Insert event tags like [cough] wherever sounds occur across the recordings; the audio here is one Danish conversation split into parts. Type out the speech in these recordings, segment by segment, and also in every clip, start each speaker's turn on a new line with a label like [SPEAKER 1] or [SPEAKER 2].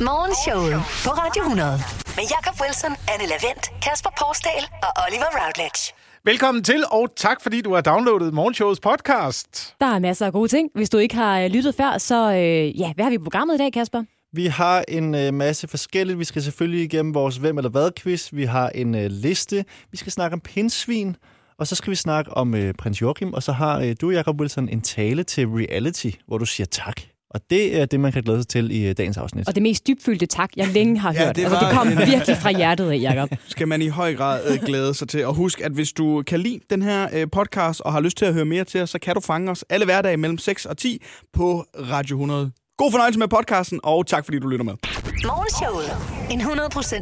[SPEAKER 1] Morgenshowet på Radio 100. Med Jakob Wilson, Anne Lavendt, Kasper Porsdal og Oliver Routledge.
[SPEAKER 2] Velkommen til, og tak fordi du har downloadet Morgenshowets podcast.
[SPEAKER 3] Der er masser af gode ting. Hvis du ikke har øh, lyttet før, så øh, ja, hvad har vi på programmet i dag, Kasper?
[SPEAKER 4] Vi har en øh, masse forskelligt. Vi skal selvfølgelig igennem vores Hvem eller Hvad-quiz. Vi har en øh, liste. Vi skal snakke om pindsvin. Og så skal vi snakke om øh, prins Joachim. Og så har øh, du, Jacob Wilson, en tale til reality, hvor du siger tak. Og det er det, man kan glæde sig til i øh, dagens afsnit.
[SPEAKER 3] Og det mest dybfyldte tak, jeg længe har
[SPEAKER 5] Ja,
[SPEAKER 3] hørt.
[SPEAKER 5] det
[SPEAKER 3] Det, altså, det
[SPEAKER 5] var
[SPEAKER 3] kom
[SPEAKER 5] en-
[SPEAKER 3] virkelig fra hjertet af, [laughs] Jacob.
[SPEAKER 5] skal man i høj grad øh, glæde sig til. Og husk, at hvis du kan lide den her øh, podcast og har lyst til at høre mere til os, så kan du fange os alle hverdage mellem 6 og 10 på Radio 100. God fornøjelse med podcasten, og tak fordi du lytter med.
[SPEAKER 1] Morgenshowet. En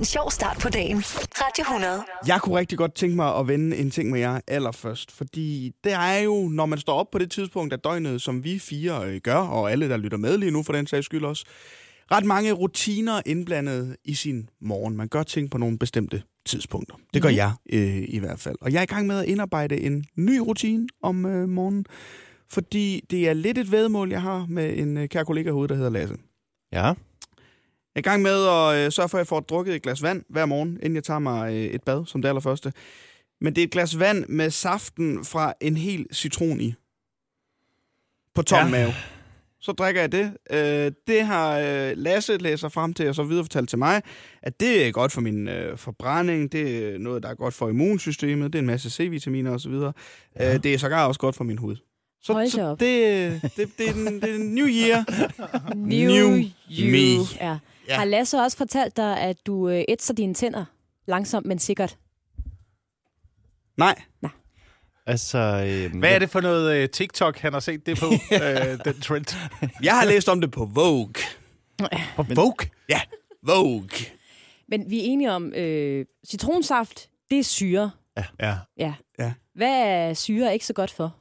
[SPEAKER 1] 100% sjov start på dagen. Radio 100.
[SPEAKER 5] Jeg kunne rigtig godt tænke mig at vende en ting med jer allerførst, fordi det er jo, når man står op på det tidspunkt af døgnet, som vi fire øh, gør, og alle, der lytter med lige nu for den sags skyld også, ret mange rutiner indblandet i sin morgen. Man gør ting på nogle bestemte tidspunkter. Det gør jeg øh, i hvert fald. Og jeg er i gang med at indarbejde en ny rutine om øh, morgenen, fordi det er lidt et vedmål, jeg har med en øh, kær kollega herude, der hedder Lasse.
[SPEAKER 4] Ja.
[SPEAKER 5] Jeg er i gang med at øh, sørge for, at jeg får drukket et glas vand hver morgen, inden jeg tager mig øh, et bad, som det allerførste. Men det er et glas vand med saften fra en hel citron i. På tom ja.
[SPEAKER 4] Ja.
[SPEAKER 5] mave. Så drikker jeg det. Øh, det har øh, Lasse læser frem til, og så viderefortalt til mig, at det er godt for min øh, forbrænding, det er noget, der er godt for immunsystemet, det er en masse C-vitaminer osv. Ja. Øh, det er sågar også godt for min hud. Så,
[SPEAKER 3] Hold da
[SPEAKER 5] så
[SPEAKER 3] op.
[SPEAKER 5] det, øh, det, det, er den, det er den new year. New me.
[SPEAKER 3] Ja.
[SPEAKER 5] Ja.
[SPEAKER 3] Har Lasse også fortalt dig, at du øh, ætser dine tænder langsomt, men sikkert?
[SPEAKER 5] Nej,
[SPEAKER 4] Altså, øh,
[SPEAKER 2] Hvad er det for noget øh, TikTok, han har set det
[SPEAKER 5] [laughs]
[SPEAKER 2] på, øh, den trend?
[SPEAKER 5] jeg har læst om det på Vogue.
[SPEAKER 2] På Vogue?
[SPEAKER 5] Ja, Vogue.
[SPEAKER 3] Men vi er enige om, øh, citronsaft, det er syre.
[SPEAKER 2] Ja.
[SPEAKER 3] Ja.
[SPEAKER 5] Ja.
[SPEAKER 3] Hvad er syre ikke så godt for?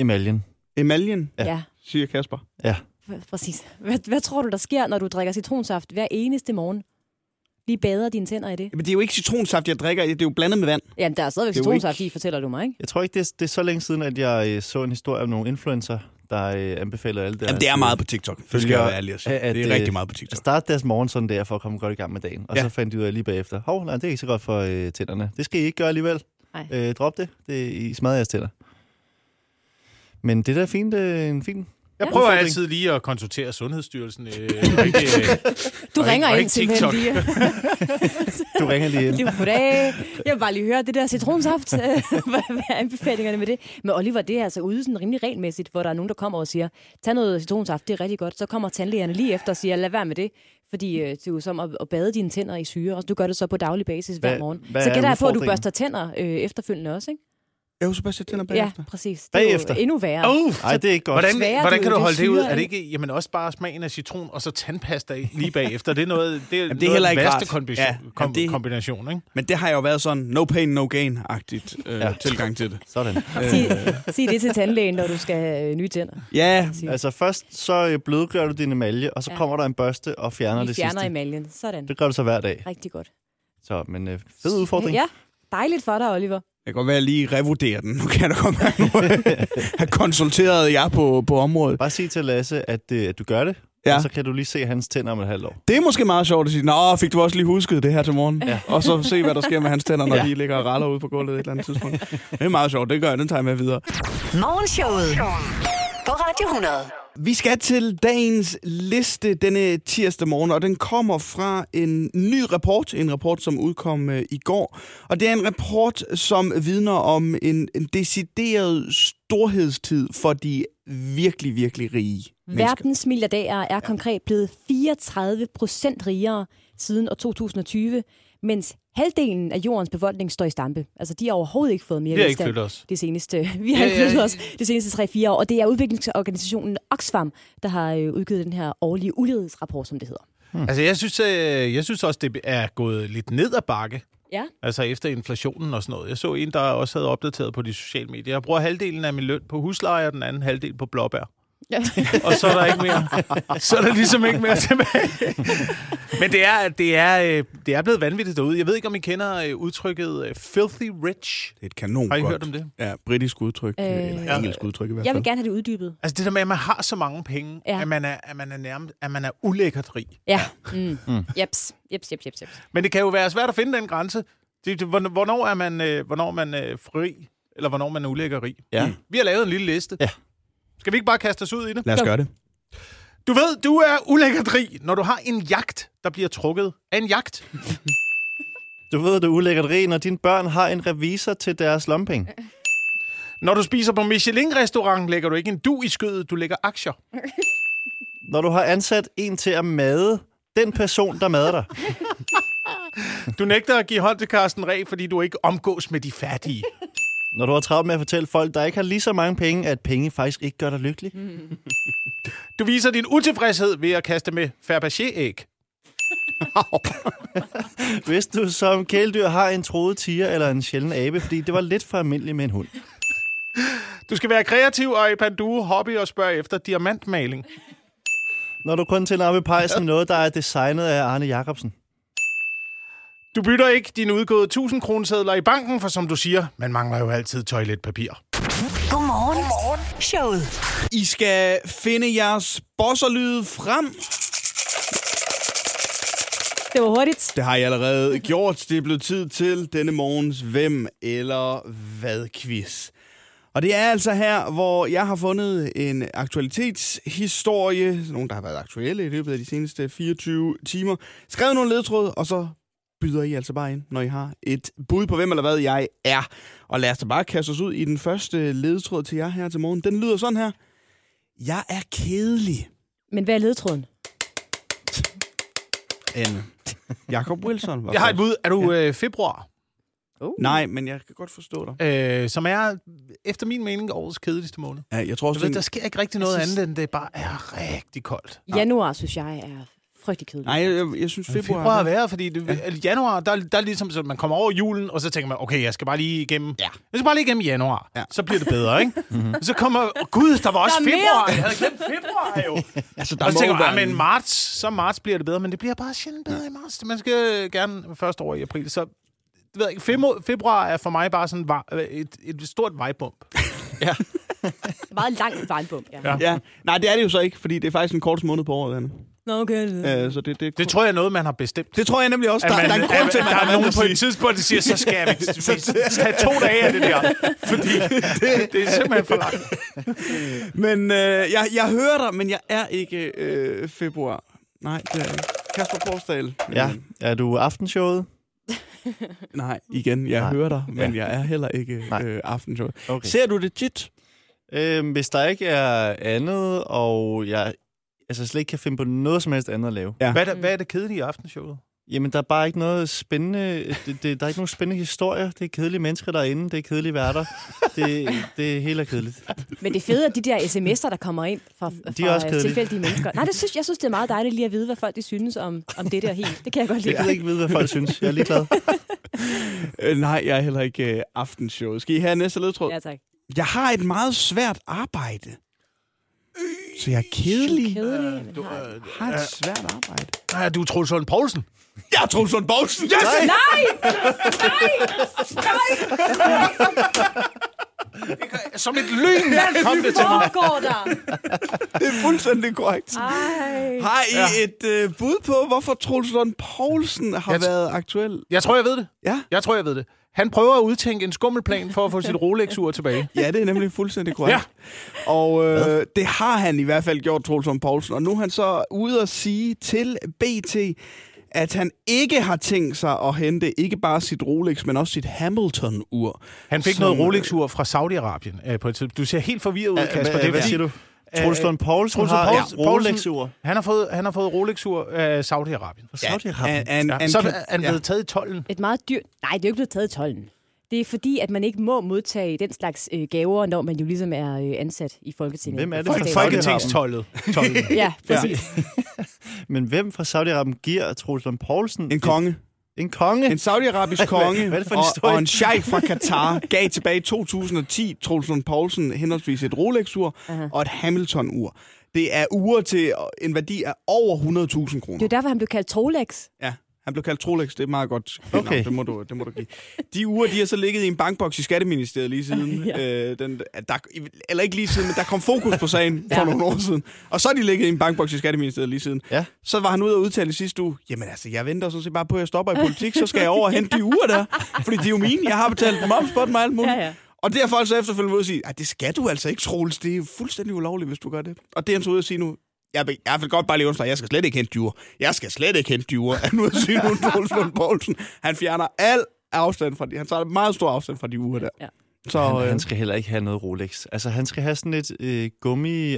[SPEAKER 4] Emaljen.
[SPEAKER 5] Emaljen,
[SPEAKER 4] Ja.
[SPEAKER 5] siger Kasper.
[SPEAKER 4] Ja.
[SPEAKER 3] Pr- Præcis. Hvad, hvad tror du, der sker, når du drikker citronsaft hver eneste morgen? Lige bader dine tænder i det?
[SPEAKER 5] Men det er jo ikke citronsaft, jeg drikker. Det er jo blandet med vand.
[SPEAKER 3] Jamen, der er stadigvæk
[SPEAKER 5] Det er jo
[SPEAKER 3] citronsaft
[SPEAKER 5] ikke-
[SPEAKER 3] i, fortæller du mig, ikke?
[SPEAKER 4] Jeg tror ikke, det er, det er så længe siden, at jeg øh, så en historie om nogle influencer, der øh, anbefaler alle deres...
[SPEAKER 5] Jamen, det er meget på TikTok. Det skal
[SPEAKER 4] følger,
[SPEAKER 5] jeg være ærlig at sige.
[SPEAKER 4] at,
[SPEAKER 5] Det er
[SPEAKER 4] øh,
[SPEAKER 5] rigtig meget på
[SPEAKER 4] at
[SPEAKER 5] TikTok.
[SPEAKER 4] starte deres morgen sådan der, for at komme godt i gang med dagen. Og
[SPEAKER 5] Ja.
[SPEAKER 4] ja. så fandt de ud af lige bagefter, hov, nej, det er ikke så godt for øh, tænderne. Det skal I ikke gøre alligevel.
[SPEAKER 3] Nej.
[SPEAKER 4] Øh, drop det. det. I smadrer jeres tænder. Men det der er fint, øh, en fin...
[SPEAKER 2] Jeg
[SPEAKER 3] Ja.
[SPEAKER 2] prøver altid lige at konsultere Sundhedsstyrelsen.
[SPEAKER 5] [laughs]
[SPEAKER 2] Øh, og ikke, øh,
[SPEAKER 3] Du
[SPEAKER 2] Og
[SPEAKER 3] ringer
[SPEAKER 2] ikke- og
[SPEAKER 3] ind
[SPEAKER 2] ikke
[SPEAKER 3] simpelthen
[SPEAKER 2] TikTok.
[SPEAKER 3] lige.
[SPEAKER 4] Du ringer lige ind.
[SPEAKER 3] [laughs] lige goddag. Jeg vil bare lige høre det der
[SPEAKER 4] [laughs]
[SPEAKER 3] citronsaft. [laughs] Øh, Hvad hvad er anbefalingerne med det? Men Oliver, det er altså ude sådan rimelig regelmæssigt, hvor der er nogen, der kommer og siger, tag noget citronsaft, det er rigtig godt. Så kommer tandlægerne lige efter og siger, lad være med det. Fordi øh, det er jo som at, at bade dine tænder i syre, og du gør det så på daglig basis hver
[SPEAKER 4] Hvad-
[SPEAKER 3] morgen.
[SPEAKER 4] hvad
[SPEAKER 3] så
[SPEAKER 4] er
[SPEAKER 3] gætter jeg på, at du
[SPEAKER 4] udfordringen?
[SPEAKER 3] børster tænder øh, efterfølgende også, ikke?
[SPEAKER 5] Jeg husker bare, at jeg tænder
[SPEAKER 3] Ja, præcis. Det er jo
[SPEAKER 4] Bagefter?
[SPEAKER 3] endnu værre.
[SPEAKER 2] oh,
[SPEAKER 4] Nej, det er ikke godt.
[SPEAKER 2] hvordan,
[SPEAKER 3] Smager
[SPEAKER 2] hvordan
[SPEAKER 3] det
[SPEAKER 2] kan du
[SPEAKER 3] jo, det
[SPEAKER 2] holde det ud?
[SPEAKER 3] syrer,
[SPEAKER 2] Er det ikke jamen, også bare smagen af citron og så tandpasta i- lige bagefter? Det er noget, det er, jamen,
[SPEAKER 5] det er heller ikke rart.
[SPEAKER 2] kombination,
[SPEAKER 5] Ja,
[SPEAKER 2] ja,
[SPEAKER 5] jamen,
[SPEAKER 2] kom,
[SPEAKER 5] det-
[SPEAKER 2] kombination, ikke?
[SPEAKER 5] Men det har jo været sådan no pain, no gain-agtigt øh, ja. tilgang til det.
[SPEAKER 4] Sådan.
[SPEAKER 3] Sig, sig det til tandlægen, når du skal have øh, nye tænder.
[SPEAKER 5] [laughs] Ja,
[SPEAKER 4] Altså først så øh, blødgør du din emalje, og så
[SPEAKER 3] Ja.
[SPEAKER 4] ja. kommer der en børste og fjerner
[SPEAKER 3] Vi
[SPEAKER 4] det
[SPEAKER 3] fjerner
[SPEAKER 4] sidste.
[SPEAKER 3] emaljen. Sådan.
[SPEAKER 4] Det gør du så hver dag.
[SPEAKER 3] Rigtig godt.
[SPEAKER 4] Så, men øh, fed udfordring.
[SPEAKER 3] Ja, dejligt for dig, Oliver.
[SPEAKER 5] jeg kan godt være, at jeg lige revurderer den. Nu kan jeg da godt mærke, [laughs] nu har konsulteret jer på, på området.
[SPEAKER 4] Bare sig til Lasse, at, øh, at du gør det,
[SPEAKER 5] Ja.
[SPEAKER 4] ja. og så kan du lige se hans tænder om et halvt år.
[SPEAKER 5] Det er måske meget sjovt at sige, Nå, fik du også lige husket det her til morgen? Ja. Og så se, hvad der sker med hans tænder, når ja. de ligger og raller ude på gulvet et eller andet tidspunkt. Det er meget sjovt, det gør jeg, den tager jeg med videre.
[SPEAKER 1] Morgenshowet på Radio 100.
[SPEAKER 5] Vi skal til dagens liste denne tirsdag morgen, og den kommer fra en ny rapport. En rapport, som udkom øh, i går. Og det er en rapport, som vidner om en, en decideret storhedstid for de virkelig, virkelig rige mennesker.
[SPEAKER 3] Verdens milliardærer er konkret blevet 34 procent rigere siden år 2020, mens halvdelen af jordens befolkning står i stampe. Altså, de har overhovedet ikke fået mere
[SPEAKER 2] Vi har ikke
[SPEAKER 3] velstand
[SPEAKER 2] flyttet os.
[SPEAKER 3] Det seneste, [laughs] vi har ikke flyttet os de seneste 3-4 år, og det er udviklingsorganisationen Oxfam, der har øh, udgivet den her årlige ulighedsrapport, som det hedder.
[SPEAKER 5] Hmm.
[SPEAKER 2] Altså, jeg synes, øh, jeg synes også, det er gået lidt ned ad bakke.
[SPEAKER 3] Ja.
[SPEAKER 2] Altså efter inflationen og sådan noget. Jeg så en, der også havde opdateret på de sociale medier. Jeg bruger halvdelen af min løn på husleje, og den anden halvdel på blåbær. og så er der ikke mere. Så er der ligesom ikke mere tilbage. Men det er, det, er, øh, det er blevet vanvittigt derude. Jeg ved ikke, om I kender øh, udtrykket øh, filthy rich.
[SPEAKER 5] Det er et kanon
[SPEAKER 2] Har I
[SPEAKER 5] godt.
[SPEAKER 2] hørt om det?
[SPEAKER 5] Ja, britisk udtryk, øh,
[SPEAKER 3] Øh,
[SPEAKER 5] eller engelsk udtryk i hvert fald.
[SPEAKER 3] [laughs] Jeg vil gerne have det uddybet.
[SPEAKER 2] Altså det der med, at man har så mange penge,
[SPEAKER 3] Ja.
[SPEAKER 2] ja. at, man er, at man er nærmest at man er ulækkert rig.
[SPEAKER 3] Ja. Mm. Mm. Jeps. Jeps, jeps, jeps, jeps.
[SPEAKER 2] Men det kan jo være svært at finde den grænse. Det, det, hvorn- hvornår er man, øh, hvornår er man øh, fri, eller hvornår man er ulækker rig?
[SPEAKER 4] Ja.
[SPEAKER 2] Mm. Vi har lavet en lille liste.
[SPEAKER 4] Ja.
[SPEAKER 2] Skal vi ikke bare kaste os ud i det?
[SPEAKER 5] Lad os
[SPEAKER 3] Jo.
[SPEAKER 5] gøre det.
[SPEAKER 2] Du ved, du er ulækkert rig, når du har en jagt, der bliver trukket af en jagt.
[SPEAKER 4] Du ved, det er ulækkert rig, når dine børn har en revisor til deres lompenge.
[SPEAKER 2] Når du spiser på Michelin-restaurant, lægger du ikke en du i skødet, du lægger aktier.
[SPEAKER 4] Når du har ansat en til at made den person, der mader dig.
[SPEAKER 2] Du nægter at give hånd til Carsten Ræ, fordi du ikke omgås med de fattige.
[SPEAKER 4] Når du har travlt med at fortælle folk, der ikke har lige så mange penge, at penge faktisk ikke gør dig lykkelig.
[SPEAKER 2] Du viser din utilfredshed ved at kaste med Fabergé-æg.
[SPEAKER 4] Hvis du som kæledyr har en troet tiger eller en sjælden abe, fordi det var lidt for almindeligt med en hund.
[SPEAKER 2] Du skal være kreativ og i pandue hobby og spørge efter diamantmaling.
[SPEAKER 4] Når du kun tænder op i pejsen med noget, der er designet af Arne Jacobsen.
[SPEAKER 2] Du bytter ikke dine udgåede 1000 kronesedler i banken, for som du siger, man mangler jo altid toiletpapir.
[SPEAKER 1] Godmorgen. Godmorgen. Showet.
[SPEAKER 5] I skal finde jeres bosserlyde frem.
[SPEAKER 3] Det var hurtigt.
[SPEAKER 5] Det har jeg allerede gjort. Det er blevet tid til denne morgens Hvem eller Hvad-quiz. Og det er altså her, hvor jeg har fundet en aktualitetshistorie, nogle der har været aktuelle i løbet af de seneste 24 timer, skrevet nogle ledtråd, og så byder I altså bare ind, når I har et bud på, hvem eller hvad jeg er. Og lad os da bare kaste os ud i den første ledtråd til jer her til morgen. Den lyder sådan her. Jeg er kedelig,
[SPEAKER 3] Men hvad er ledtråden?
[SPEAKER 5] Anne. Jakob Wilson. Var
[SPEAKER 2] Jeg har et
[SPEAKER 5] først.
[SPEAKER 2] bud. Er du øh, februar?
[SPEAKER 5] Nej, men jeg kan godt forstå dig.
[SPEAKER 2] Øh, som er, efter min mening, årets kedeligste måned.
[SPEAKER 5] Ja, jeg tror også,
[SPEAKER 2] Du ved,
[SPEAKER 5] den-
[SPEAKER 2] der sker ikke rigtig noget
[SPEAKER 5] Jeg synes-
[SPEAKER 2] andet, end det bare er rigtig koldt.
[SPEAKER 3] Januar, synes jeg, er frygtelig kedelig.
[SPEAKER 5] Nej, jeg, jeg, jeg synes februar...
[SPEAKER 2] Februar er værre, fordi det, ja. januar, der, der er ligesom, så man kommer over julen, og så tænker man, okay, jeg skal bare lige igennem, ja. jeg skal bare lige igennem januar,
[SPEAKER 5] Ja. Mhm.
[SPEAKER 2] ja. så bliver det bedre,
[SPEAKER 5] [laughs]
[SPEAKER 2] ikke? mm-hmm. Så kommer, oh, gud, der var også
[SPEAKER 3] Der er mere.
[SPEAKER 2] februar, jeg havde glemt februar jo.
[SPEAKER 5] [laughs] Altså,
[SPEAKER 2] og så tænker man, "Ah, men marts, så marts bliver det bedre, men det bliver bare sjældent bedre i marts. Man skal øh, gerne først over i april, så det ved jeg ikke, femo- februar er for mig bare sådan var- øh, et, et stort
[SPEAKER 5] [laughs]
[SPEAKER 2] vejbump.
[SPEAKER 3] Meget langt varmbump. Ja.
[SPEAKER 2] Ja.
[SPEAKER 5] Ja. Nej, det er det jo så ikke, fordi det er faktisk den korteste måned på året, Anne.
[SPEAKER 3] Nå, okay.
[SPEAKER 5] Øh, så det, det,
[SPEAKER 2] Det tror jeg er noget, man har bestemt.
[SPEAKER 5] det tror jeg nemlig også. Der,
[SPEAKER 2] man,
[SPEAKER 5] der er en grund til, at
[SPEAKER 2] at der er nogen på et
[SPEAKER 5] sige.
[SPEAKER 2] tidspunkt, der siger, så skal [laughs] jeg vi skal have to dage af det der. [laughs] Fordi det, det er simpelthen for langt.
[SPEAKER 5] [laughs] Men øh, jeg, jeg hører dig, men jeg er ikke øh, februar. Nej, det er jeg ikke. Kasper Porsdal.
[SPEAKER 4] Ja,
[SPEAKER 5] Øh,
[SPEAKER 4] er du aftenshowet?
[SPEAKER 5] nej, igen, jeg
[SPEAKER 4] Nej.
[SPEAKER 5] hører dig, men ja.
[SPEAKER 4] Ja.
[SPEAKER 5] jeg er heller ikke
[SPEAKER 4] Nej.
[SPEAKER 5] øh, aftenshowet.
[SPEAKER 4] Okay.
[SPEAKER 5] Ser du det tit?
[SPEAKER 4] Øhm, hvis der ikke er andet, og jeg altså, slet ikke kan finde på noget som helst andet at lave.
[SPEAKER 2] Hvad er, det, hvad er det kedelige i aftenshowet?
[SPEAKER 4] Jamen, der er bare ikke noget spændende... Det, det, der er ikke nogen spændende historier. Det er kedelige mennesker derinde. Det er kedelige værter. Det, det er helt kedeligt.
[SPEAKER 3] Men det fede er de der sms'er, der kommer ind fra, fra
[SPEAKER 4] også
[SPEAKER 3] øh,
[SPEAKER 4] kedelige.
[SPEAKER 3] tilfældige mennesker. Nej, det synes, jeg synes, det er meget dejligt lige at vide, hvad folk de synes om, om det der helt. Det kan jeg godt lide.
[SPEAKER 4] Jeg gider ikke vide, hvad folk synes. Jeg er ligeglad.
[SPEAKER 5] Øh, nej, jeg er heller ikke øh, aftenshowet. Skal I have næste ledtråd?
[SPEAKER 3] Ja, tak.
[SPEAKER 5] Jeg har et meget svært arbejde. Så jeg er kedelig.
[SPEAKER 3] Kedelig, men
[SPEAKER 2] Du,
[SPEAKER 3] har-
[SPEAKER 2] øh,
[SPEAKER 5] Jeg har et svært arbejde.
[SPEAKER 2] nej, du er Troels Lund Poulsen.
[SPEAKER 5] Jeg er Troels Lund Poulsen. Yes! Nej!
[SPEAKER 2] Som et lyn kom det til mig.
[SPEAKER 3] foregår der?
[SPEAKER 5] Det er fuldstændig korrekt.
[SPEAKER 3] Ej.
[SPEAKER 5] Har I ja. et øh, bud på, hvorfor Troels Lund Poulsen har
[SPEAKER 2] Jeg
[SPEAKER 5] jeg
[SPEAKER 2] t-
[SPEAKER 5] været aktuel?
[SPEAKER 2] Jeg tror, jeg ved det.
[SPEAKER 5] Ja.
[SPEAKER 2] Jeg tror, jeg ved det. Han prøver at udtænke en skummelplan for at få [laughs] sit Rolex-ur tilbage.
[SPEAKER 5] Ja, det er nemlig fuldstændig korrekt. Ja. Og øh, det har han i hvert fald gjort, Troels Lund Poulsen. Og nu er han så ude at sige til BT, at han ikke har tænkt sig at hente ikke bare sit Rolex, men også sit Hamilton-ur.
[SPEAKER 2] Han fik
[SPEAKER 5] Som-
[SPEAKER 2] noget Rolex-ur fra Saudi-Arabien øh, på et tidspunkt. Du ser helt forvirret ud, Kasper.
[SPEAKER 4] Hvad,
[SPEAKER 2] Det er
[SPEAKER 4] hvad
[SPEAKER 2] fordi-
[SPEAKER 4] siger du? Troels Lund Poulsen
[SPEAKER 2] Troels Lund
[SPEAKER 4] har
[SPEAKER 2] Poulsen-
[SPEAKER 4] Poulsen, ja,
[SPEAKER 2] Poulsen-
[SPEAKER 4] Rolex-ur.
[SPEAKER 2] Han har fået, han har fået Rolex-ur af Saudi-Arabien.
[SPEAKER 5] An,
[SPEAKER 4] Saudi-Arabien.
[SPEAKER 5] an,
[SPEAKER 2] Ja.
[SPEAKER 5] an,
[SPEAKER 2] Så er han
[SPEAKER 5] ja.
[SPEAKER 2] blevet taget i tolden.
[SPEAKER 3] Et meget dyrt... Nej, det er jo ikke blevet taget i tolden. Det er fordi, at man ikke må modtage den slags øh, gaver, når man jo ligesom er øh, ansat i Folketinget.
[SPEAKER 4] Hvem er det
[SPEAKER 3] På
[SPEAKER 4] for
[SPEAKER 3] staten.
[SPEAKER 4] folk?
[SPEAKER 2] Folketingstoldet.
[SPEAKER 4] [laughs]
[SPEAKER 2] Tolden.
[SPEAKER 3] Ja, præcis.
[SPEAKER 4] Men hvem fra Saudi-Arabien giver Troels Lund Poulsen
[SPEAKER 5] en konge.
[SPEAKER 4] En konge.
[SPEAKER 5] En saudiarabisk
[SPEAKER 4] [laughs]
[SPEAKER 5] konge
[SPEAKER 4] hvad er det for en
[SPEAKER 5] og,
[SPEAKER 4] historie?
[SPEAKER 5] og en sheik fra Katar gav tilbage i 2010 Troels Lund Poulsen henholdsvis et Rolex-ur uh-huh. og et Hamilton-ur. Det er ure til en værdi af over 100.000
[SPEAKER 3] Det er
[SPEAKER 5] kroner.
[SPEAKER 3] jo derfor, han blev kaldt Trolex.
[SPEAKER 5] Ja, han blev kaldt Trolex. Det er et meget godt. Okay.
[SPEAKER 4] Okay.
[SPEAKER 5] Navn, det, må du, det må du give. De uger, de har så ligget i en bankboks i Skatteministeriet lige siden. ja. øh, den, der, eller ikke lige siden, men der kom fokus på sagen for
[SPEAKER 3] Ja.
[SPEAKER 5] nogle år siden. Og så er de ligget i en bankboks i Skatteministeriet lige siden.
[SPEAKER 4] Ja.
[SPEAKER 5] Så var han ude og udtale sidste uge, jamen altså, jeg venter sådan set bare på, at jeg stopper i politik, så skal jeg over og hente de uger der. Fordi de er jo mine, jeg har betalt moms på dem og alt muligt.
[SPEAKER 3] Ja, ja.
[SPEAKER 5] Og det er folk så efterfølgende ude og sige, at det skal du altså ikke, Troels. Det er fuldstændig ulovligt, hvis du gør det. Og det er han så ude at sige nu, jeg vil, jeg vil godt bare lige understrege, jeg skal slet ikke hente dyre. Jeg skal slet ikke hente dyre. [laughs] Han er ude at sige nu, Troels Lund Poulsen. Han fjerner al afstand fra de, han tager meget stor afstand fra de uger der.
[SPEAKER 3] Ja.
[SPEAKER 5] Så
[SPEAKER 4] Han,
[SPEAKER 5] øh,
[SPEAKER 4] han skal heller ikke have noget Rolex. Altså, han skal have sådan et øh,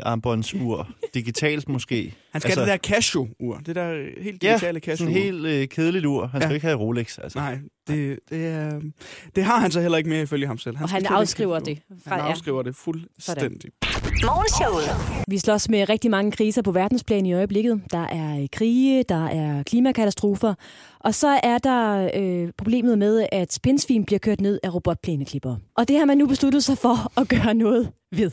[SPEAKER 4] gummiarmbåndsur. digitalt måske.
[SPEAKER 5] han skal
[SPEAKER 4] altså,
[SPEAKER 5] altså, have det der Casio-ur. Det der øh, helt
[SPEAKER 4] Ja,
[SPEAKER 5] digitale Casio-ur.
[SPEAKER 4] sådan en helt øh, kedeligt ur. Han skal
[SPEAKER 5] Ja.
[SPEAKER 4] ikke have Rolex, altså.
[SPEAKER 5] Nej, det, det, er, øh, det har han så heller ikke mere ifølge ham selv.
[SPEAKER 3] Og
[SPEAKER 5] skal
[SPEAKER 3] han
[SPEAKER 5] slet ikke
[SPEAKER 3] afskriver
[SPEAKER 5] hente
[SPEAKER 3] det.
[SPEAKER 5] dyre.
[SPEAKER 3] Fra-
[SPEAKER 5] Han
[SPEAKER 3] ja.
[SPEAKER 5] afskriver det fuldstændig.
[SPEAKER 1] Morgenshowet.
[SPEAKER 3] Vi slås med rigtig mange kriser på verdensplan i øjeblikket. Der er øh, krige, der er klimakatastrofer, og så er der øh, problemet med, at pindsvin bliver kørt ned af robotplæneklipper. Og det har man nu besluttet sig for [laughs] at gøre noget ved.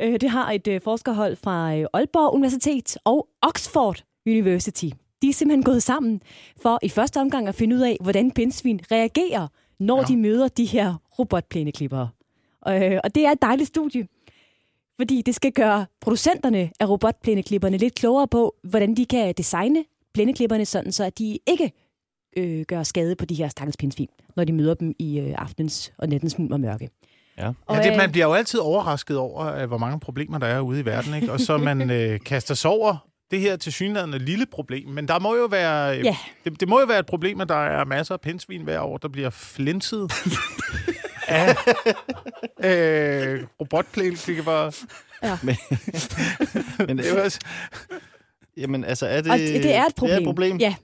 [SPEAKER 3] Øh, det har et øh, forskerhold fra øh, Aalborg Universitet og Oxford University. De er simpelthen gået sammen for i første omgang at finde ud af, hvordan pindsvin reagerer, når ja. de møder de her robotplæneklipper. Øh, og det er et dejligt studie fordi det skal gøre producenterne af robotplæneklipperne lidt klogere på, hvordan de kan designe plæneklipperne sådan, så at de ikke øh, gør skade på de her stakkels pindsvin, når de møder dem i øh, aftenens og nattens mulm og mørke.
[SPEAKER 4] Ja.
[SPEAKER 3] Og,
[SPEAKER 2] Ja, det, man
[SPEAKER 3] øh,
[SPEAKER 2] bliver jo altid overrasket over, øh, hvor mange problemer der er ude i verden, ikke? og
[SPEAKER 3] [laughs]
[SPEAKER 2] så man øh, kaster sig over det her til synligheden lille problem. Men der må jo være, øh,
[SPEAKER 3] Ja.
[SPEAKER 2] det, det må jo være et problem, at der er masser af pindsvin hver år, der bliver
[SPEAKER 3] [laughs]
[SPEAKER 2] flinset af øh, robotplæneklippere.
[SPEAKER 4] [laughs] Men, øh,
[SPEAKER 2] Det er jo også-
[SPEAKER 4] jamen, altså, er det...
[SPEAKER 3] og det, det er et problem.
[SPEAKER 4] Det er et problem.
[SPEAKER 3] Ja.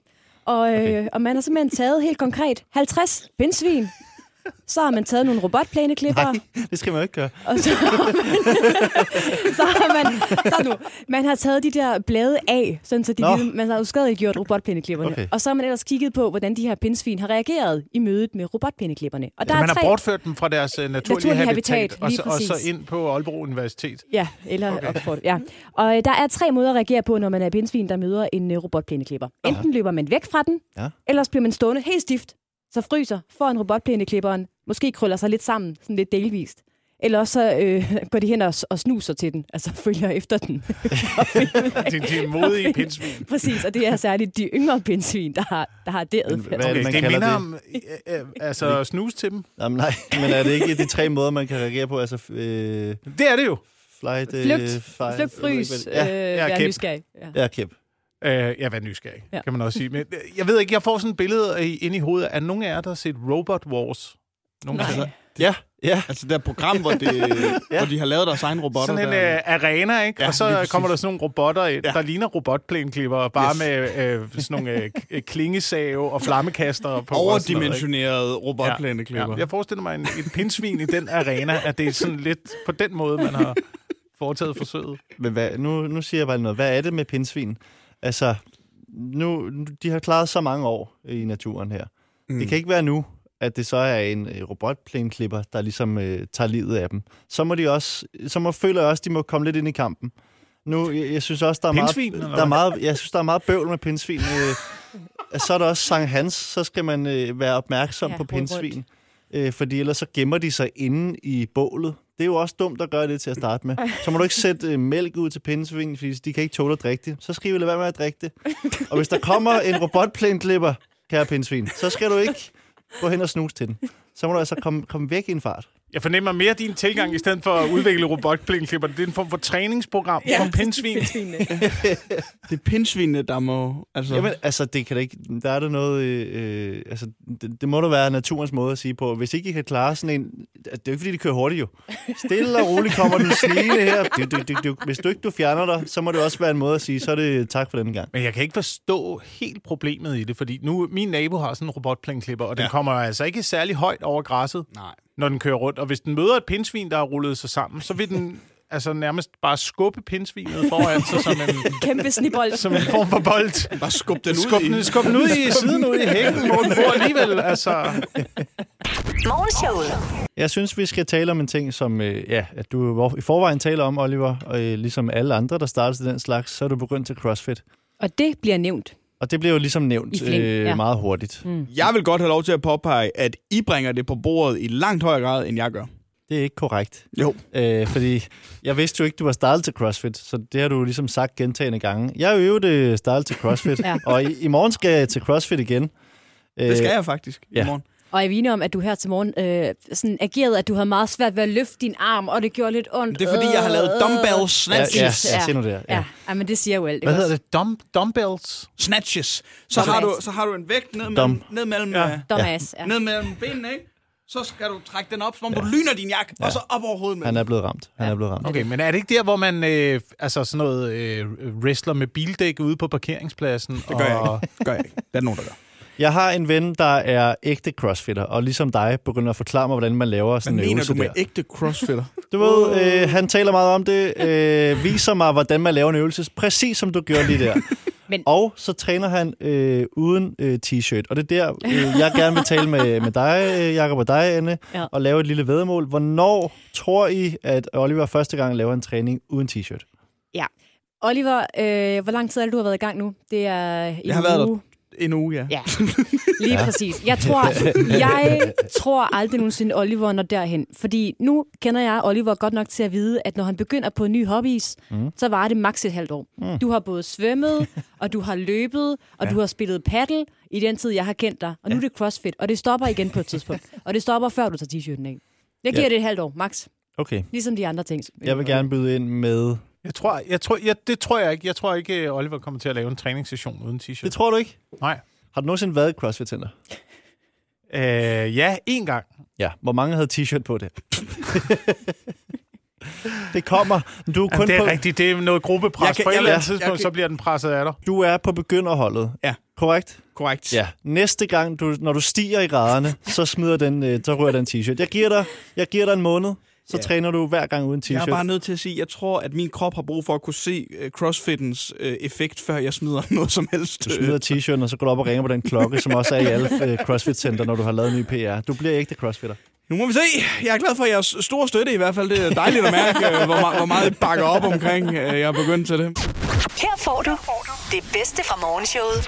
[SPEAKER 3] Og, øh,
[SPEAKER 4] Okay.
[SPEAKER 3] og man har simpelthen taget helt konkret 50 pindsvin, så har man taget nogle robotplæneklipper,
[SPEAKER 4] Nej, det skal man jo ikke gøre.
[SPEAKER 3] Og så, så har man, så nu, man har taget de der blade af, sådan så de,
[SPEAKER 4] Nå.
[SPEAKER 3] ligesom- man har uskadeliggjort robotpindeklipperne.
[SPEAKER 4] Okay.
[SPEAKER 3] Okay. Og så har man ellers kigget på, hvordan de her pindsvin har reageret i mødet med robotpindeklipperne. Og
[SPEAKER 2] Altså,
[SPEAKER 3] der
[SPEAKER 2] Man
[SPEAKER 3] er
[SPEAKER 2] har
[SPEAKER 3] tre,
[SPEAKER 2] bortført dem fra deres øh, naturlige,
[SPEAKER 3] Naturlige
[SPEAKER 2] habitat,
[SPEAKER 3] habitat,
[SPEAKER 2] og,
[SPEAKER 3] lige
[SPEAKER 2] så, og så
[SPEAKER 3] præcis.
[SPEAKER 2] ind på Aalborg
[SPEAKER 3] [laughs]
[SPEAKER 2] Universitet.
[SPEAKER 3] Ja, eller okay. Oxford, ja. Og øh, der er tre måder at reagere på, når man er pindsvin, der møder en øh, robotplæneklipper. Enten løber man væk fra den,
[SPEAKER 4] Ja.
[SPEAKER 3] ellers bliver man stående helt stift, så fryser, får en robotplæneklipperen, måske krøller sig lidt sammen, sådan lidt delvist. Eller også så øh, [laughs] går de hen og, og snuser til den, altså følger efter den.
[SPEAKER 2] De, de er modige pindsvin.
[SPEAKER 3] Præcis, og det er særligt de yngre pindsvin, der har, der har det adfærd.
[SPEAKER 4] hvad- er det,
[SPEAKER 2] Okay, det
[SPEAKER 4] man kalder
[SPEAKER 2] minder om
[SPEAKER 4] det?
[SPEAKER 2] øh, øh, altså, snus til dem.
[SPEAKER 4] Jamen, nej, [laughs] men er det ikke de tre måder, man kan reagere på? Altså, øh,
[SPEAKER 2] Det er det jo.
[SPEAKER 4] flight... Øh,
[SPEAKER 3] Flygt,
[SPEAKER 4] fight,
[SPEAKER 3] flygt, frys, øh,
[SPEAKER 4] Ja,
[SPEAKER 2] ja,
[SPEAKER 3] være
[SPEAKER 2] kæmpe.
[SPEAKER 3] nysgerrig. Ja.
[SPEAKER 4] ja, kæp.
[SPEAKER 2] Øh, ja, vær nysgerrig,
[SPEAKER 3] Ja.
[SPEAKER 2] ja. kan man også sige. Men øh, jeg ved ikke, jeg får sådan et billede øh, inde i hovedet af nogen af jer, der har set Robot Wars. Nogle
[SPEAKER 3] Nej.
[SPEAKER 4] Ja, ja.
[SPEAKER 5] Altså det der program, hvor, det, [laughs] ja. hvor de har lavet deres egen robotter.
[SPEAKER 2] Sådan en
[SPEAKER 5] der.
[SPEAKER 2] øh, arena, ikke? Ja, og
[SPEAKER 5] lige
[SPEAKER 2] så
[SPEAKER 5] præcis.
[SPEAKER 2] kommer der sådan nogle robotter ind,
[SPEAKER 5] Ja.
[SPEAKER 2] ja. der ligner robotplænklipper, bare
[SPEAKER 5] Yes.
[SPEAKER 2] yes. med øh, sådan nogle øh, k- øh, klingesave og flammekaster på. og sådan noget, ikke?
[SPEAKER 5] overdimensionerede
[SPEAKER 2] Ja.
[SPEAKER 5] robotplæneklipper.
[SPEAKER 2] Ja. Jeg forestiller mig en, et pindsvin i den arena, at det er sådan lidt på den måde, man har foretaget forsøget.
[SPEAKER 4] Men hvad, nu, nu siger jeg bare noget. Hvad er det med pindsvin? Altså, nu, nu- de har klaret så mange år i naturen her. Mm. Det kan ikke være nu, at det så er en øh, robotplæneklipper, der ligesom øh, tager livet af dem. Så må de også, så må, føler jeg også, de må komme lidt ind i kampen. Nu, jeg, jeg synes også, der er,
[SPEAKER 2] Pindsvin, eller
[SPEAKER 4] meget, der er
[SPEAKER 2] hvad?
[SPEAKER 4] meget, jeg synes, der er meget bøvl med pindsvin. Øh, [laughs] så er der også Sankt Hans, så skal man øh, være opmærksom
[SPEAKER 3] Ja,
[SPEAKER 4] ja, på
[SPEAKER 3] rul rundt.
[SPEAKER 4] pindsvin. Øh, fordi ellers så gemmer de sig inde i bålet. Det er jo også dumt at gøre det til at starte med. Så må du ikke sætte øh, mælk ud til pindsvin, fordi de kan ikke tåle at drikke det. Så skal I jo lade være med at drikke det. Og hvis der kommer en robotplæneklipper, kære pindsvin, så skal du ikke gå hen og snuse til den. Så må du altså komme, komme væk i en fart.
[SPEAKER 2] Jeg fornemmer mere din tilgang, i stedet for at udvikle robotplænklipper. Det er en form for træningsprogram ja. for pindsvin.
[SPEAKER 5] Det er pindsvinene, der må... Altså,
[SPEAKER 4] Jamen, altså, det kan da ikke, der er der noget, øh, øh, altså, det, det, må da være naturens måde at sige på. Hvis ikke I kan klare sådan en, det er jo ikke, fordi de kører hurtigt jo. Stille og roligt kommer den snigende her. Du, du, du, du, hvis du ikke du fjerner dig, så må det også være en måde at sige, så er det tak for den gang.
[SPEAKER 2] Men jeg kan ikke forstå helt problemet i det, fordi nu min nabo har sådan en robotplænklipper, og den
[SPEAKER 5] Ja.
[SPEAKER 2] ja. kommer altså ikke særlig højt over græsset,
[SPEAKER 5] Nej.
[SPEAKER 2] [laughs] når den kører rundt. Og hvis den møder et pindsvin, der har rullet sig sammen, så vil den altså nærmest bare skubbe pindsvinet foran sig som en,
[SPEAKER 3] Kæmpe snibold.
[SPEAKER 2] som en form for bold.
[SPEAKER 5] Bare skub den ud
[SPEAKER 2] Skub den,
[SPEAKER 5] i.
[SPEAKER 2] skub den ud
[SPEAKER 5] [laughs]
[SPEAKER 2] i siden, [laughs] ud i hækken, hvor den bor alligevel. Altså,
[SPEAKER 1] Morgenshowet.
[SPEAKER 4] Jeg synes, vi skal tale om en ting, som øh, ja, at du jo i forvejen taler om, Oliver, og øh, ligesom alle andre, der starter til den slags, så er du begyndt til CrossFit.
[SPEAKER 3] Og det bliver nævnt.
[SPEAKER 4] Og det bliver jo ligesom
[SPEAKER 3] I
[SPEAKER 4] nævnt
[SPEAKER 3] flæng, ja.
[SPEAKER 4] meget hurtigt. Mm.
[SPEAKER 5] Jeg vil godt have lov til at påpege, at I bringer det på bordet i langt højere grad, end jeg gør.
[SPEAKER 4] Det er ikke korrekt.
[SPEAKER 5] Jo.
[SPEAKER 4] Øh, fordi jeg vidste jo ikke, du var startet til CrossFit, så det har du jo ligesom sagt gentagende gange. Jeg er jo i øvrigt øh, startet til CrossFit,
[SPEAKER 3] Ja.
[SPEAKER 4] ja. og i, i morgen skal jeg til CrossFit igen. Øh,
[SPEAKER 5] Det skal jeg faktisk ja.
[SPEAKER 4] ja.
[SPEAKER 5] i morgen.
[SPEAKER 3] Og jeg er enig om, at du her til morgen øh, sådan agerede, at du havde meget svært ved at løfte din arm, og det gjorde lidt ondt. Øh.
[SPEAKER 5] Det er fordi, jeg har lavet dumbbell
[SPEAKER 4] Øh, Ja,
[SPEAKER 5] snatches.
[SPEAKER 4] ja,
[SPEAKER 3] Præcis,
[SPEAKER 4] ja,
[SPEAKER 3] ja.
[SPEAKER 4] se nu der.
[SPEAKER 3] Ja, ja men det siger jo alt.
[SPEAKER 2] hvad
[SPEAKER 3] ikke
[SPEAKER 2] hedder
[SPEAKER 3] også?
[SPEAKER 2] det? Dumb, dumbbells?
[SPEAKER 5] snatches. Så har, du, så har du en vægt ned mellem,
[SPEAKER 4] Dom.
[SPEAKER 5] ned mellem, Altså- ja.
[SPEAKER 3] Dumbass. Ja.
[SPEAKER 5] ned mellem benene, ikke? Så skal du trække den op, som om ja. du lyner din jakke, ja. og så op over hovedet med
[SPEAKER 4] Han
[SPEAKER 5] den.
[SPEAKER 4] er blevet ramt. Han er blevet ramt.
[SPEAKER 2] Okay, men er det ikke der, hvor man øh, altså sådan noget øh, wrestler med bildæk ude på parkeringspladsen? Det
[SPEAKER 5] gør jeg
[SPEAKER 2] og,
[SPEAKER 5] Det gør jeg ikke. Der er nogen, der gør.
[SPEAKER 4] Jeg har en ven, der er ægte crossfitter, og ligesom dig begynder at forklare mig, hvordan man laver sådan
[SPEAKER 5] Hvad
[SPEAKER 4] en
[SPEAKER 5] mener
[SPEAKER 4] øvelse
[SPEAKER 5] du med
[SPEAKER 4] der.
[SPEAKER 5] ægte crossfitter?
[SPEAKER 4] Du ved, øh, han taler meget om det, øh, viser mig, hvordan man laver en øvelse, præcis som du gjorde lige der.
[SPEAKER 3] Men-
[SPEAKER 4] [laughs] Men... Og så træner han øh, uden øh, t-shirt. Og det er der, øh, jeg gerne vil tale med, med dig, øh, Jacob, og dig, Anne,
[SPEAKER 3] Ja.
[SPEAKER 4] ja. og lave et lille vedmål. Hvornår tror I, at Oliver første gang laver en træning uden t-shirt?
[SPEAKER 3] ja. Oliver, øh, hvor lang tid er det, du har været i gang nu? Det er en
[SPEAKER 5] Jeg har været der.
[SPEAKER 3] uge.
[SPEAKER 5] En uge, ja.
[SPEAKER 3] Ja, lige ja. præcis. Jeg tror, jeg tror aldrig nogensinde, Oliver når derhen. Fordi nu kender jeg Oliver godt nok til at vide, at når han begynder på nye hobbies, mm. så varer det maks et halvt år. Mm. Du har både svømmet, og du har løbet, og ja. du har spillet paddle i den tid, jeg har kendt dig. Og nu er det crossfit, og det stopper igen på et tidspunkt. og det stopper, før du tager t-shirten af. Jeg giver ja.
[SPEAKER 4] Ja.
[SPEAKER 3] det et halvt år, max.
[SPEAKER 4] Okay.
[SPEAKER 3] Ligesom de andre ting.
[SPEAKER 4] Jeg vil gerne byde ind med...
[SPEAKER 2] jeg tror, jeg tror, jeg, det tror jeg ikke. Jeg tror ikke, øh, Oliver kommer til at lave en træningssession uden t-shirt.
[SPEAKER 4] Det tror du ikke?
[SPEAKER 2] Nej.
[SPEAKER 4] Har du nogensinde været i et CrossFit Center?
[SPEAKER 2] Øh, ja, én gang.
[SPEAKER 4] Ja. Hvor mange havde t-shirt
[SPEAKER 2] [laughs]
[SPEAKER 4] på det? det kommer. Du er,
[SPEAKER 2] Jamen,
[SPEAKER 4] kun
[SPEAKER 2] det er
[SPEAKER 4] på,
[SPEAKER 2] rigtigt. Det er noget gruppepres.
[SPEAKER 5] Jeg kan-
[SPEAKER 2] på et
[SPEAKER 5] jeg-
[SPEAKER 2] eller
[SPEAKER 5] jeg-
[SPEAKER 2] andet tidspunkt,
[SPEAKER 5] jeg kan-
[SPEAKER 2] så bliver den presset af dig.
[SPEAKER 4] du er på begynderholdet.
[SPEAKER 5] Ja.
[SPEAKER 4] Korrekt?
[SPEAKER 5] [laughs] Korrekt.
[SPEAKER 4] Ja. Næste gang, du, når du stiger i graderne, så smider den, øh, så rører den t-shirt. Jeg giver dig, jeg giver dig en måned, så ja. træner du hver gang uden t-shirt.
[SPEAKER 5] Jeg er bare nødt til at sige, at jeg tror, at min krop har brug for at kunne se øh, crossfittens øh, effekt, før jeg smider [laughs] noget som helst. øh.
[SPEAKER 4] Du smider t-shirten, og så går du op og ringer på den klokke, som også er i alle øh, CrossFit-center, når du har lavet ny PR. Du bliver ægte CrossFitter.
[SPEAKER 5] Nu må vi se. Jeg er glad for jeres store støtte i hvert fald. Det er dejligt at mærke, øh, hvor, me- hvor meget I bakker op omkring, øh, jeg er begyndt til det.
[SPEAKER 1] Her får du det bedste fra morgenshowet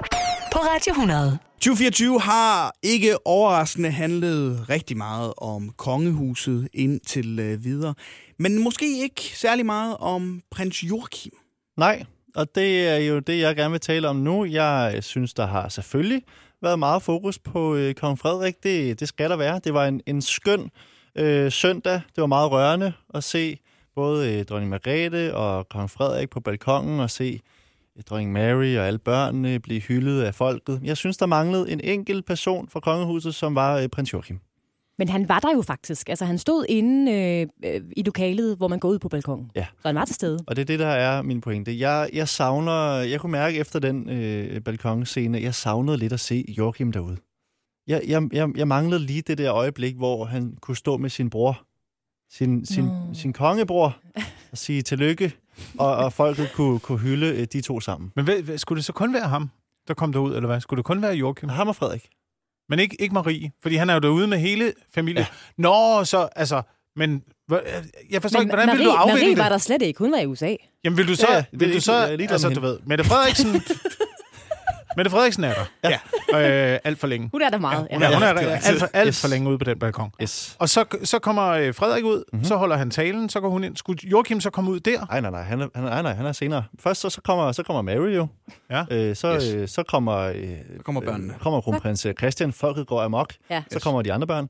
[SPEAKER 1] på Radio 100.
[SPEAKER 5] 2024 har ikke overraskende handlet rigtig meget om kongehuset indtil øh, videre, men måske ikke særlig meget om prins Joachim.
[SPEAKER 4] Nej, og det er jo det, jeg gerne vil tale om nu. Jeg øh, synes, der har selvfølgelig været meget fokus på øh, kong Frederik. Det, det skal der være. Det var en, en skøn øh, søndag. Det var meget rørende at se både øh, dronning Margrethe og kong Frederik på balkongen og se øh, dronning Mary og alle børnene blive hyldet af folket. Jeg synes, der manglede en enkelt person fra kongehuset, som var øh, prins Joachim.
[SPEAKER 3] Men han var der jo faktisk. Altså, han stod inde øh, øh, i lokalet, hvor man går ud på balkongen.
[SPEAKER 4] Ja.
[SPEAKER 3] Så han var til stede.
[SPEAKER 4] Og det er det, der er min pointe. Jeg, jeg savner, jeg kunne mærke efter den øh, balkonscene, jeg savnede lidt at se Joachim derude. Jeg, jeg, jeg, jeg manglede lige det der øjeblik, hvor han kunne stå med sin bror, sin, sin,
[SPEAKER 3] Nå.
[SPEAKER 4] sin kongebror, og sige tillykke, og, og folket kunne, kunne hylde øh, de to sammen.
[SPEAKER 2] Men hvad, hvad, skulle det så kun være ham, der kom derud, eller hvad? Skulle det kun være Joachim?
[SPEAKER 4] Ham og Frederik.
[SPEAKER 2] Men ikke, ikke Marie, fordi han er jo derude med hele familien. Ja. Nå, så altså... Men hvor- jeg forstår ikke, hvordan
[SPEAKER 3] Marie,
[SPEAKER 2] vil du afvinde
[SPEAKER 3] Marie
[SPEAKER 2] det?
[SPEAKER 3] var der slet ikke. Hun var i USA.
[SPEAKER 2] Jamen, vil du så...
[SPEAKER 4] Ja,
[SPEAKER 2] Ja,
[SPEAKER 4] det er
[SPEAKER 2] vil du
[SPEAKER 4] ikke-
[SPEAKER 2] så
[SPEAKER 4] jeg er ligeglad
[SPEAKER 2] altså,
[SPEAKER 4] med
[SPEAKER 2] du
[SPEAKER 4] hende.
[SPEAKER 2] ved, Mette Frederiksen...
[SPEAKER 4] [laughs]
[SPEAKER 2] Mette Frederiksen er der.
[SPEAKER 5] Ja.
[SPEAKER 2] Ja. Øh, alt for længe.
[SPEAKER 3] Hun er der meget. Ja,
[SPEAKER 2] Hun er, hun er
[SPEAKER 4] det er rigtigt.
[SPEAKER 2] alt, for, alt
[SPEAKER 4] Yes.
[SPEAKER 2] for længe ude på den balkon.
[SPEAKER 4] Yes.
[SPEAKER 2] Og så, så kommer øh, Frederik ud, mm-hmm. så holder han talen, så går hun ind. Skulle Joachim så komme ud der?
[SPEAKER 4] Ej, nej, nej, han er, han, er- ej, nej, han er senere. Først så, så, kommer, så kommer Mary jo.
[SPEAKER 2] Ja.
[SPEAKER 4] Øh, så,
[SPEAKER 5] Yes.
[SPEAKER 4] yes. øh, så kommer... Øh,
[SPEAKER 5] kommer børnene.
[SPEAKER 4] Øh, kommer kronprins Christian, folket går amok.
[SPEAKER 3] Ja.
[SPEAKER 4] Så kommer de andre børn.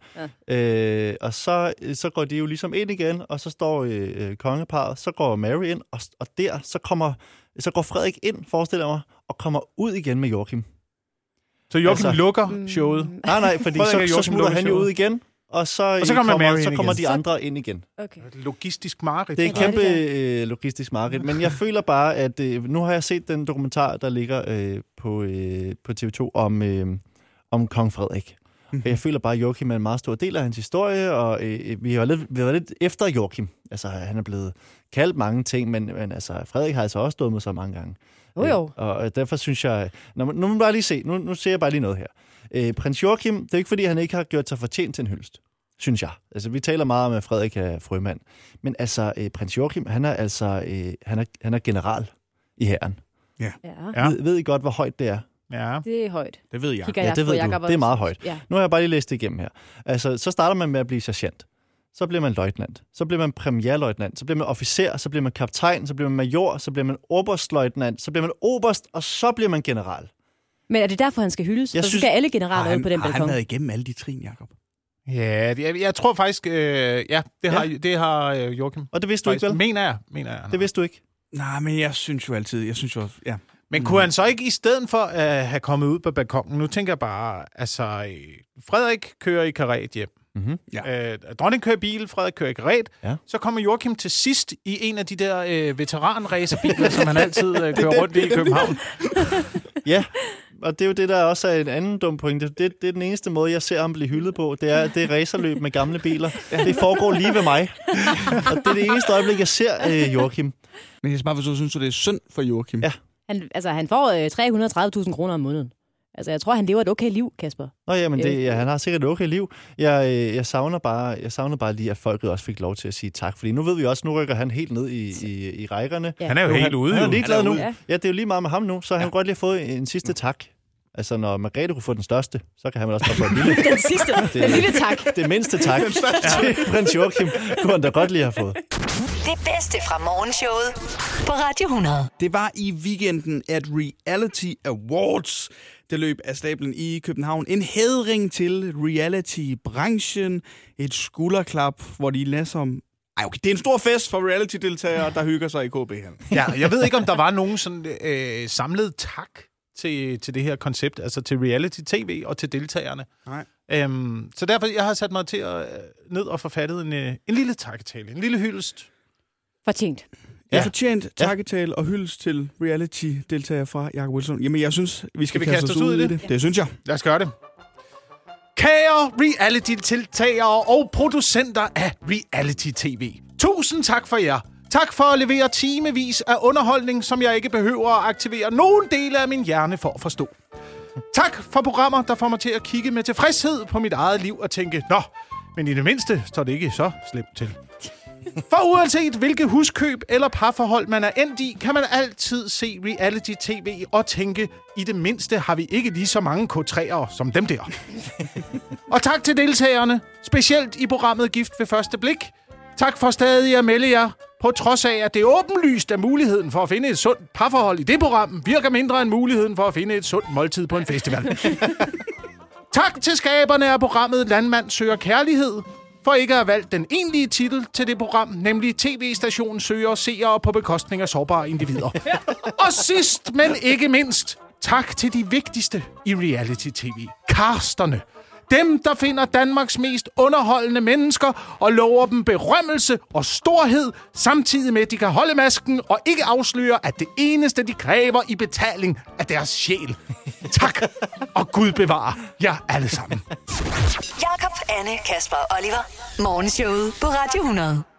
[SPEAKER 4] Ja. Øh, og så, så går de jo ligesom ind igen, og så står øh, øh, kongeparet, så går Mary ind, og, og der så, kommer, så går Frederik ind, forestiller jeg mig, og kommer ud igen med Joachim.
[SPEAKER 2] Så Joachim altså,
[SPEAKER 4] Altså-
[SPEAKER 2] lukker showet.
[SPEAKER 4] Nej, nej, fordi
[SPEAKER 2] Frederik og
[SPEAKER 4] så,
[SPEAKER 2] Joachim
[SPEAKER 4] så smutter
[SPEAKER 2] lukker
[SPEAKER 4] han jo
[SPEAKER 2] showet.
[SPEAKER 4] ud igen, og så, øh,
[SPEAKER 2] så kommer Mary
[SPEAKER 4] så
[SPEAKER 2] ind
[SPEAKER 4] kommer
[SPEAKER 2] igen.
[SPEAKER 4] de andre ind igen.
[SPEAKER 3] Okay.
[SPEAKER 2] Logistisk mareridt.
[SPEAKER 4] Det er et
[SPEAKER 3] Ja, det er
[SPEAKER 4] kæmpe øh, logistisk marked, men jeg føler bare, at øh, nu har jeg set den dokumentar, der ligger øh, på, øh, på TV2 om, øh, om Kong Frederik.
[SPEAKER 3] Mhm.
[SPEAKER 4] Og Jeg føler bare, at Joachim er en meget stor del af hans historie, og øh, vi har lidt, vi har været lidt efter Joachim. Altså, han er blevet kaldt mange ting, men, men altså, Frederik har altså også stået med så mange gange.
[SPEAKER 3] Jo, jo.
[SPEAKER 4] Øh, og øh, derfor synes jeg... Nå, men nu må man bare lige se. Nu, nu ser jeg bare lige noget her. Øh, prins Joachim, det er ikke, fordi han ikke har gjort sig fortjent til en hyldest. Synes jeg. Altså, vi taler meget om, at Frederik er frømand. Men altså, øh, prins Joachim, han er altså... Øh, han, er, han er general i hæren.
[SPEAKER 3] Ja.
[SPEAKER 2] Ja.
[SPEAKER 4] Ja. Ved, ved I godt, hvor højt det er?
[SPEAKER 2] Ja,
[SPEAKER 3] Det er højt.
[SPEAKER 2] det ved jeg.
[SPEAKER 3] Kigger
[SPEAKER 4] Ja,
[SPEAKER 3] jeg
[SPEAKER 4] det
[SPEAKER 3] på
[SPEAKER 4] ved
[SPEAKER 3] Jacob
[SPEAKER 4] du. Det er meget højt.
[SPEAKER 3] Ja.
[SPEAKER 4] Nu har jeg bare lige læst det igennem her. Altså, så starter man med at blive sergeant. Så bliver man løjtnant. Så bliver man premierløjtnant. Så bliver man officer. Så bliver man kaptajn. Så bliver man major. Så bliver man oberstløjtnant. Så bliver man oberst. Og så bliver man general.
[SPEAKER 3] Men er det derfor, han skal hyldes?
[SPEAKER 4] Jeg
[SPEAKER 3] Jeg og så
[SPEAKER 4] synes-
[SPEAKER 3] skal alle generaler ud på den
[SPEAKER 5] har
[SPEAKER 3] balkon.
[SPEAKER 5] han været igennem alle de trin, Jacob?
[SPEAKER 2] Ja, det- jeg, jeg tror faktisk, øh, ja, det har, ja. Det har øh, Joachim.
[SPEAKER 4] Og det vidste du
[SPEAKER 2] Faktisk,
[SPEAKER 4] ikke, vel?
[SPEAKER 2] mener jeg, mener jeg. han
[SPEAKER 4] Det
[SPEAKER 2] har.
[SPEAKER 4] vidste du ikke.
[SPEAKER 5] Nej, men jeg synes jo altid, jeg synes jo, ja.
[SPEAKER 2] Men kunne han så ikke i stedet for at have kommet ud på balkongen, nu tænker jeg bare, altså, øh, Frederik kører i karret hjem.
[SPEAKER 4] Mhm.
[SPEAKER 2] Ja. Øh, dronning kører i bil, Frederik kører i karret.
[SPEAKER 4] Ja.
[SPEAKER 2] Så kommer Joachim til sidst i en af de der øh, veteranracerbiler, som han altid [laughs] øh, kører rundt i i København.
[SPEAKER 4] Ja, og det er jo det, der også er en anden dum pointe. Det, det er den eneste måde, jeg ser ham blive hyldet på. Det er det er racerløb med gamle biler. Det foregår lige ved mig. Og det er det eneste øjeblik, jeg ser øh, Joachim.
[SPEAKER 5] Men jeg skal bare forstå, synes du, det er synd for Joachim?
[SPEAKER 4] Ja.
[SPEAKER 3] Han, altså, han får øh, 330.000 kroner om måneden. Altså, jeg tror, han lever et okay liv, Kasper.
[SPEAKER 4] Nå ja, men
[SPEAKER 3] Øh.
[SPEAKER 4] det, ja, han har sikkert et okay liv. Jeg, øh, jeg, savner bare, jeg savner bare lige, at folket også fik lov til at sige tak. Fordi nu ved vi også, nu rykker han helt ned i, i, i rækkerne.
[SPEAKER 3] Ja.
[SPEAKER 2] Han er jo
[SPEAKER 4] Nu,
[SPEAKER 2] helt
[SPEAKER 4] han,
[SPEAKER 2] ude,
[SPEAKER 4] han er
[SPEAKER 2] jo.
[SPEAKER 4] ligeglad
[SPEAKER 5] Han er
[SPEAKER 4] nu.
[SPEAKER 5] ude.
[SPEAKER 4] Ja, det er jo lige meget med ham nu, så han ja. godt lige have fået en sidste tak. Altså, når Margrethe kunne få den største, så kan han vel også bare få en [laughs] lille.
[SPEAKER 3] Den sidste, den lille tak.
[SPEAKER 4] det mindste tak til prins Joachim, kunne han da godt lige have fået.
[SPEAKER 1] Det bedste fra morgenshowet på Radio 100.
[SPEAKER 5] Det var i weekenden, at Reality Awards det løb af stablen i København. En hædring til reality-branchen. Et skulderklap, hvor de lader som... Ej, okay, det er en stor fest for reality-deltagere, der hygger sig i KB her.
[SPEAKER 2] Ja, jeg ved ikke, om [laughs] der var nogen sådan øh, samlet tak til, til det her koncept, altså til reality-tv og til deltagerne.
[SPEAKER 5] Nej.
[SPEAKER 2] Øhm, så derfor jeg har sat mig til at øh, ned og forfattet en, øh, en lille takketale, en lille hyldest.
[SPEAKER 3] Fortjent.
[SPEAKER 5] Jeg fortjent takketale og hyldest til reality-deltagere fra Jacob Wilson. Jamen, jeg synes, vi skal,
[SPEAKER 2] vi kaste os ud i
[SPEAKER 5] det. Det synes jeg.
[SPEAKER 2] Lad os gøre det. Kære reality-tiltagere og producenter af reality-tv. Tusind tak for jer. Tak for at levere timevis af underholdning, som jeg ikke behøver at aktivere nogen dele af min hjerne for at forstå. Tak for programmer, der får mig til at kigge med tilfredshed på mit eget liv og tænke, nå, men i det mindste står det ikke så slemt til. For uanset hvilke huskøb eller parforhold man er endt i, kan man altid se reality-tv og tænke, i det mindste har vi ikke lige så mange K3'ere som dem der. og tak til deltagerne, specielt i programmet Gift ved første blik. Tak for stadig at melde jer, på trods af, at det er åbenlyst, at muligheden for at finde et sundt parforhold i det program virker mindre end muligheden for at finde et sundt måltid på en festival. Tak til skaberne af programmet Landmand søger kærlighed, for ikke at have valgt den egentlige titel til det program, nemlig TV-stationen søger seere på bekostning af sårbare individer. Og sidst, men ikke mindst, tak til de vigtigste i reality-tv. Karsterne. Dem, der finder Danmarks mest underholdende mennesker og lover dem berømmelse og storhed, samtidig med, at de kan holde masken og ikke afsløre, at det eneste, de kræver i betaling, er deres sjæl. Tak, og Gud bevarer jer alle sammen.
[SPEAKER 1] Jakob, Anne, Kasper og Oliver. Morgenshowet på Radio 100.